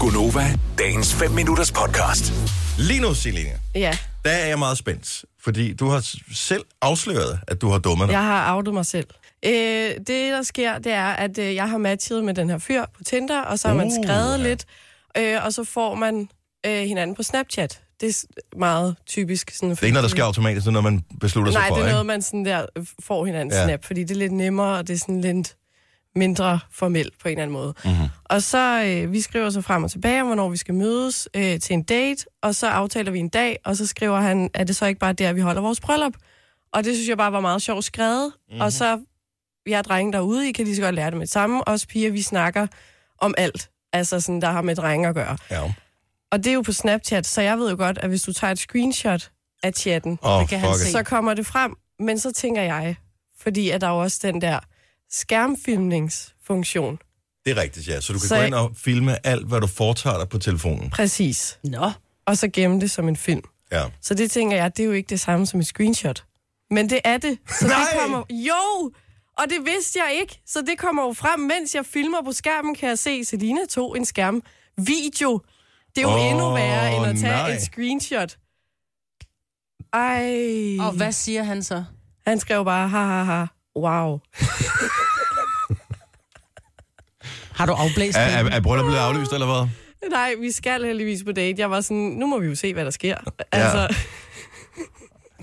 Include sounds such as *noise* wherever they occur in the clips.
Gunova, dagens 5 minutters podcast. Lige nu, Selina, Ja, der er jeg meget spændt, fordi du har s- selv afsløret, at du har dummet dig. jeg har outet mig selv. Øh, det, der sker, det er, at øh, jeg har matchet med den her fyr på Tinder, og så har man Uh, skrevet ja. lidt, øh, og så får man øh, hinanden på Snapchat. Det er s- meget typisk. Sådan, Det er ikke noget, der sker automatisk, det er noget, man beslutter sig Nej, for, det er noget, ikke? man sådan der øh, får hinanden Ja. ja. snap, fordi det er lidt nemmere, og det er sådan lidt mindre formelt på en eller anden måde. Mhm. Mm-hmm. Og så, øh, vi skriver så frem og tilbage om, hvornår vi skal mødes øh, til en date, og så aftaler vi en dag, og så skriver han, at det så ikke bare der, vi holder vores bryllup. Og det synes jeg bare var meget sjovt skrevet. Mhm. Mm-hmm. Og så, jeg er drenge derude, I kan lige så godt lære det med det samme. Os piger, vi snakker om alt, altså sådan, der har med drenge at gøre. Ja. Og det er jo på Snapchat, så jeg ved jo godt, at hvis du tager et screenshot af chatten, Åh, Det kan han fuck it. se. så kommer det frem. Men så tænker jeg, fordi at der er jo også den der skærmfilmningsfunktion. Det er rigtigt, ja. Så du kan Så gå jeg- ind og filme alt, hvad du foretager dig på telefonen. Præcis. Nå, Og så gemme det som en film. Ja. Så det tænker jeg, det er jo ikke det samme som et screenshot. Men det er det. Så Nej! det kommer... Jo! Og det vidste jeg ikke. Så det kommer jo frem, mens jeg filmer på skærmen, kan jeg se, Selina tog en skærm. Video. Det er jo Åh, oh, endnu værre, end at tage nej. nej. et screenshot. Ej. og hvad siger han så? Han skrev bare, ha ha ha, wow. *laughs* Har du afblæst Er, det? er, er brylluppet blevet aflyst, eller hvad? Nej, vi skal heldigvis på date. Jeg var sådan, nu må vi jo se, hvad der sker. Altså,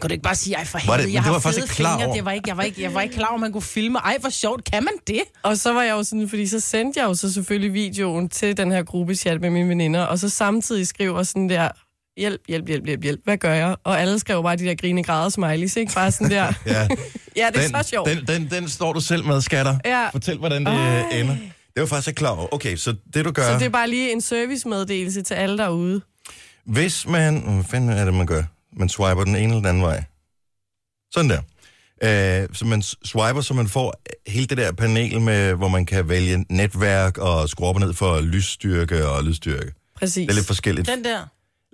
Kan du ikke bare sige, ej for Var det- helvede, men jeg det var har jeg faktisk fede ikke klar fingre, over. det var ikke, jeg, var ikke, jeg var ikke klar over, man kunne filme. Ej, hvor sjovt, kan man det? og så var jeg jo sådan, fordi så sendte jeg jo så selvfølgelig videoen til den her gruppechat med mine veninder, og så samtidig skriver sådan der, hjælp, hjælp, hjælp, hjælp, hjælp, hvad gør jeg? Og alle skrev bare de der grine græder smileys, ikke? Bare sådan der, *laughs* Ja. ja, *laughs* det er så sjovt. Den, den, den står du selv med, skatter. Ja. Fortæl, hvordan det øh, ender. Det var faktisk ikke klar over. Okay, så det du gør, Så det er bare lige en servicemeddelelse til alle derude. hvis man... Hvad fanden er det, man gør? Man swiper den ene eller den anden vej. Sådan der. Øh, så man s- swiper, så man får hele det der panel, med, hvor man kan vælge netværk og skrue op og ned for lysstyrke og lydstyrke. Præcis. Det er lidt forskelligt. Den der.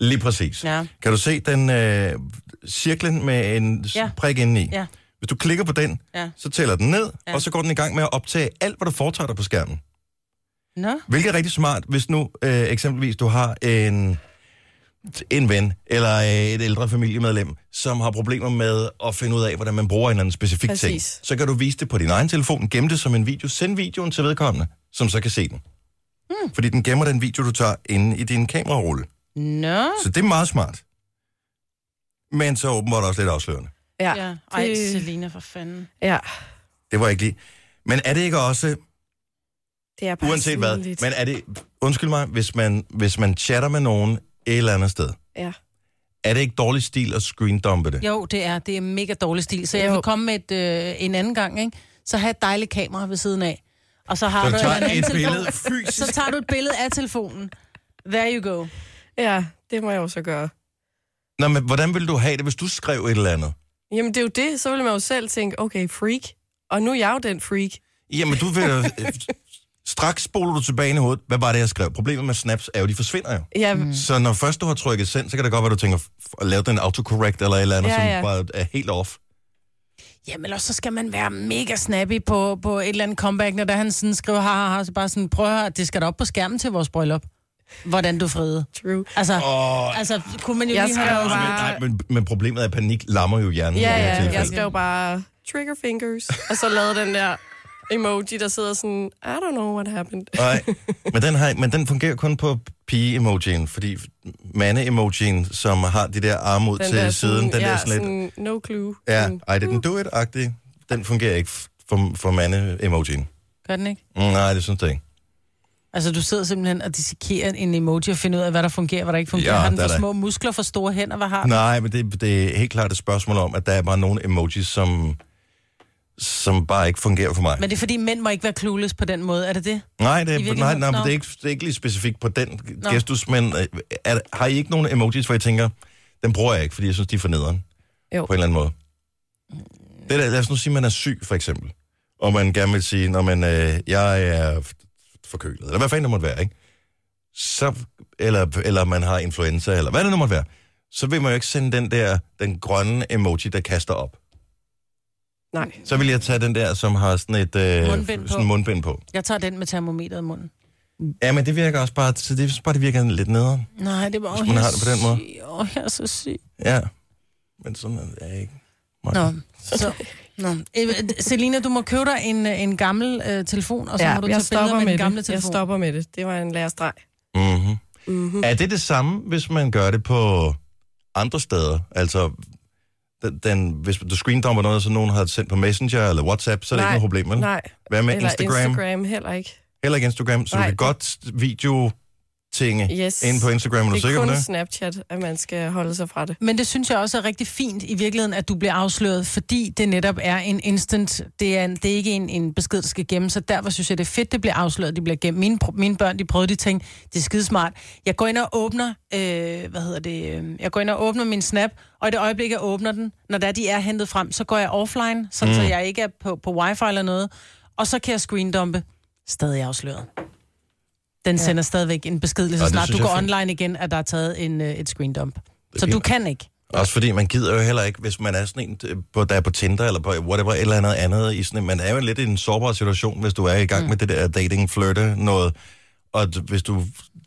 Lige præcis. Ja. Kan du se den øh, cirklen med en ja. Ja. prik indeni? Ja. Hvis du klikker på den, Ja. så tæller den ned, ja. Ja. og så går den i gang med at optage alt, hvad du foretager dig på skærmen. Nå, Hvilket er rigtig smart, hvis nu øh, eksempelvis du har en, en ven eller øh, et ældre familiemedlem, som har problemer med at finde ud af, hvordan man bruger en eller anden specifik ting. Præcis. Så kan du vise det på din egen telefon, gemme det som en video, send videoen til vedkommende, som så kan se den. Hmm. Fordi den gemmer den video, du tager inde i din kamerarulle. nå. Så det er meget smart. Men så åbenbart også lidt afslørende. Ja. Ja. Ej, det- Selina, for fanden. ja. Det var ikke lige... Men er det ikke også, Det er bare uanset hvad, svinligt. men er det... Undskyld mig, hvis man, hvis man chatter med nogen et eller andet sted, Ja. er det ikke dårlig stil at screendumpe det? Jo, det er, det er mega dårlig stil. Så jeg Jo. vil komme med et, øh, en anden gang, ikke? Så have et dejligt kamera ved siden af. Og så har Så du tager en anden et telefon. *laughs* billede fysisk. Så tager du et billede af telefonen. There you go. ja, det må jeg jo så gøre. Nå, men hvordan ville du have det, hvis du skrev et eller andet? Jamen, det er jo det. Så vil man jo selv tænke, okay, freak. Og nu er jeg jo den freak. Jamen, du vil... *laughs* øh, straks spoler du tilbage ind i hovedet. Hvad var det, jeg skrev? Problemet med snaps er jo, de forsvinder jo. Ja, Så når først du har trykket send, så kan det godt være, du tænker f- at lave den autocorrect eller et eller andet, Ja, som ja. bare er helt off. Jamen, ellers så skal man være mega snappy på, på et eller andet comeback, når der han sådan skriver, ha, ha, ha, så bare sådan, prøv at høre, det skal da op på skærmen til vores bryllup. Hvordan du friede. true. Altså, Åh. oh, altså kunne man jo Jeg lige skal have... jo Men, bare- nej, men, men problemet er, at panik lammer jo hjernen. i Ja, det her ja, jeg tilfælde. skrev bare trigger fingers, og så lavede den der emoji, der sidder sådan, I don't know what happened. *laughs* Nej, men den, har, men den fungerer kun på pige-emojien, fordi mande-emojien, som har de der arme ud Den til der, siden, den ja, der sådan lidt... sådan, no clue. Ja, Sådan, ej, det er den do it-agtige. Den fungerer ikke f- for, for mande-emojien. Gør den ikke? Mm, Nej, det synes jeg ikke. Altså, du sidder simpelthen og dissekerer en emoji og finder ud af, hvad der fungerer, hvad der ikke fungerer. Ja, Ja, har den der er for da- små muskler, for store hænder, hvad har den? Nej, men det, det er helt klart et spørgsmål om, at der er bare nogle emojis, som, som bare ikke fungerer for mig. Men det er fordi, mænd må ikke være clueless på den måde, er det det? Nej, det, er, virkeligheden? nej, nej, men Nå. det, er ikke, det er ikke lige specifikt på den gestus, men øh, er, har I ikke nogen emojis, hvor I tænker, den bruger jeg ikke, fordi jeg synes, de er for nederen? Jo. På en eller anden måde. Det der, lad os nu sige, at man er syg, for eksempel. Og man gerne vil sige, når man, øh, jeg er f- forkølet, eller hvad fanden det måtte være, ikke? Så, eller, eller man har influenza, eller hvad det nu måtte være. Så vil man jo ikke sende den der, den grønne emoji, der kaster op. Nej. Så vil jeg tage den der, som har sådan et øh, Mundbind på. sådan mundbind på. Jeg tager den med termometeret i munden. Ja, men det virker også bare, så det, jeg synes bare, det virker lidt nederen. Nej, det var Hvis man har det på den måde. Åh, jeg er så syg. Ja. Men sådan er jeg ikke. Mig. Nå, så... Nå. Øh, Selina, du må købe dig en, øh, en gammel øh, telefon, og så ja, må du tage billeder med, med den gamle det. Jeg telefon. stopper med det. Det var en lærerstreg. Mm-hmm. Mhm. Mm-hmm. Er det det samme, hvis man gør det på andre steder? Altså, den, den, hvis du screendumper noget, så nogen har sendt på Messenger eller WhatsApp, så er det Nej, ikke noget problem, vel? Nej, Hvad med eller Instagram? Instagram? Instagram heller ikke. Heller ikke Instagram, så Nej, du kan det- godt video tinge Yes. ind på Instagram. Er du Det er sikker kun på det? Snapchat, at man skal holde sig fra det. Men det synes jeg også er rigtig fint i virkeligheden, at du bliver afsløret, fordi det netop er en instant. Det er, en, det er ikke en, en besked, der skal gemme sig. Derfor synes jeg, det er fedt, det bliver afsløret. De bliver gemt. Mine, pr- mine børn, de prøvede de ting. Det er skidesmart. Jeg går ind og åbner, øh, hvad hedder det, øh, jeg går ind og åbner min snap, og i det øjeblik, jeg åbner den, når der de er hentet frem, så går jeg offline, sådan mm. så jeg ikke er på, på wifi eller noget. Og så kan jeg screendumpe. Stadig afsløret. Den ja. sender stadigvæk en besked, lige Ej, så det snart synes du går jeg er fint. online igen, at der er taget en, øh, et screendump. Så er du fint. kan ikke. Også fordi man gider jo heller ikke, hvis man er sådan en, øh, på, der er på Tinder eller på whatever, et eller andet andet. I sådan, en- man er jo lidt i en sårbar situation, hvis du er i gang mm. med det der dating, flirte noget. Og d- hvis du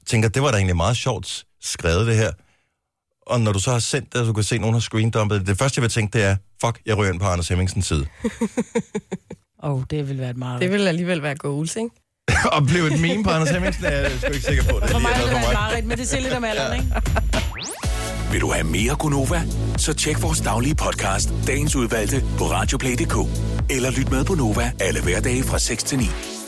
tænker, det var da egentlig meget sjovt skrevet det her. Og når du så har sendt det, og du kan se, at nogen har screendumpet det, det første, jeg vil tænke, det er, fuck, jeg rører ind på Anders Hemmingsens side. Åh, oh, det vil være et meget... Det vil alligevel være goals, ikke? *laughs* og blev et meme på Anders Hemmingsen, er jeg sgu ikke sikker på. Det er for lige mig vil noget det for være et mig. mareridt, men det ser lidt om alderen, ikke? Vil du have mere Gunova? Så tjek vores daglige podcast, dagens udvalgte, på radioplay.dk. Eller lyt med på Nova alle hverdage fra 6 til 9.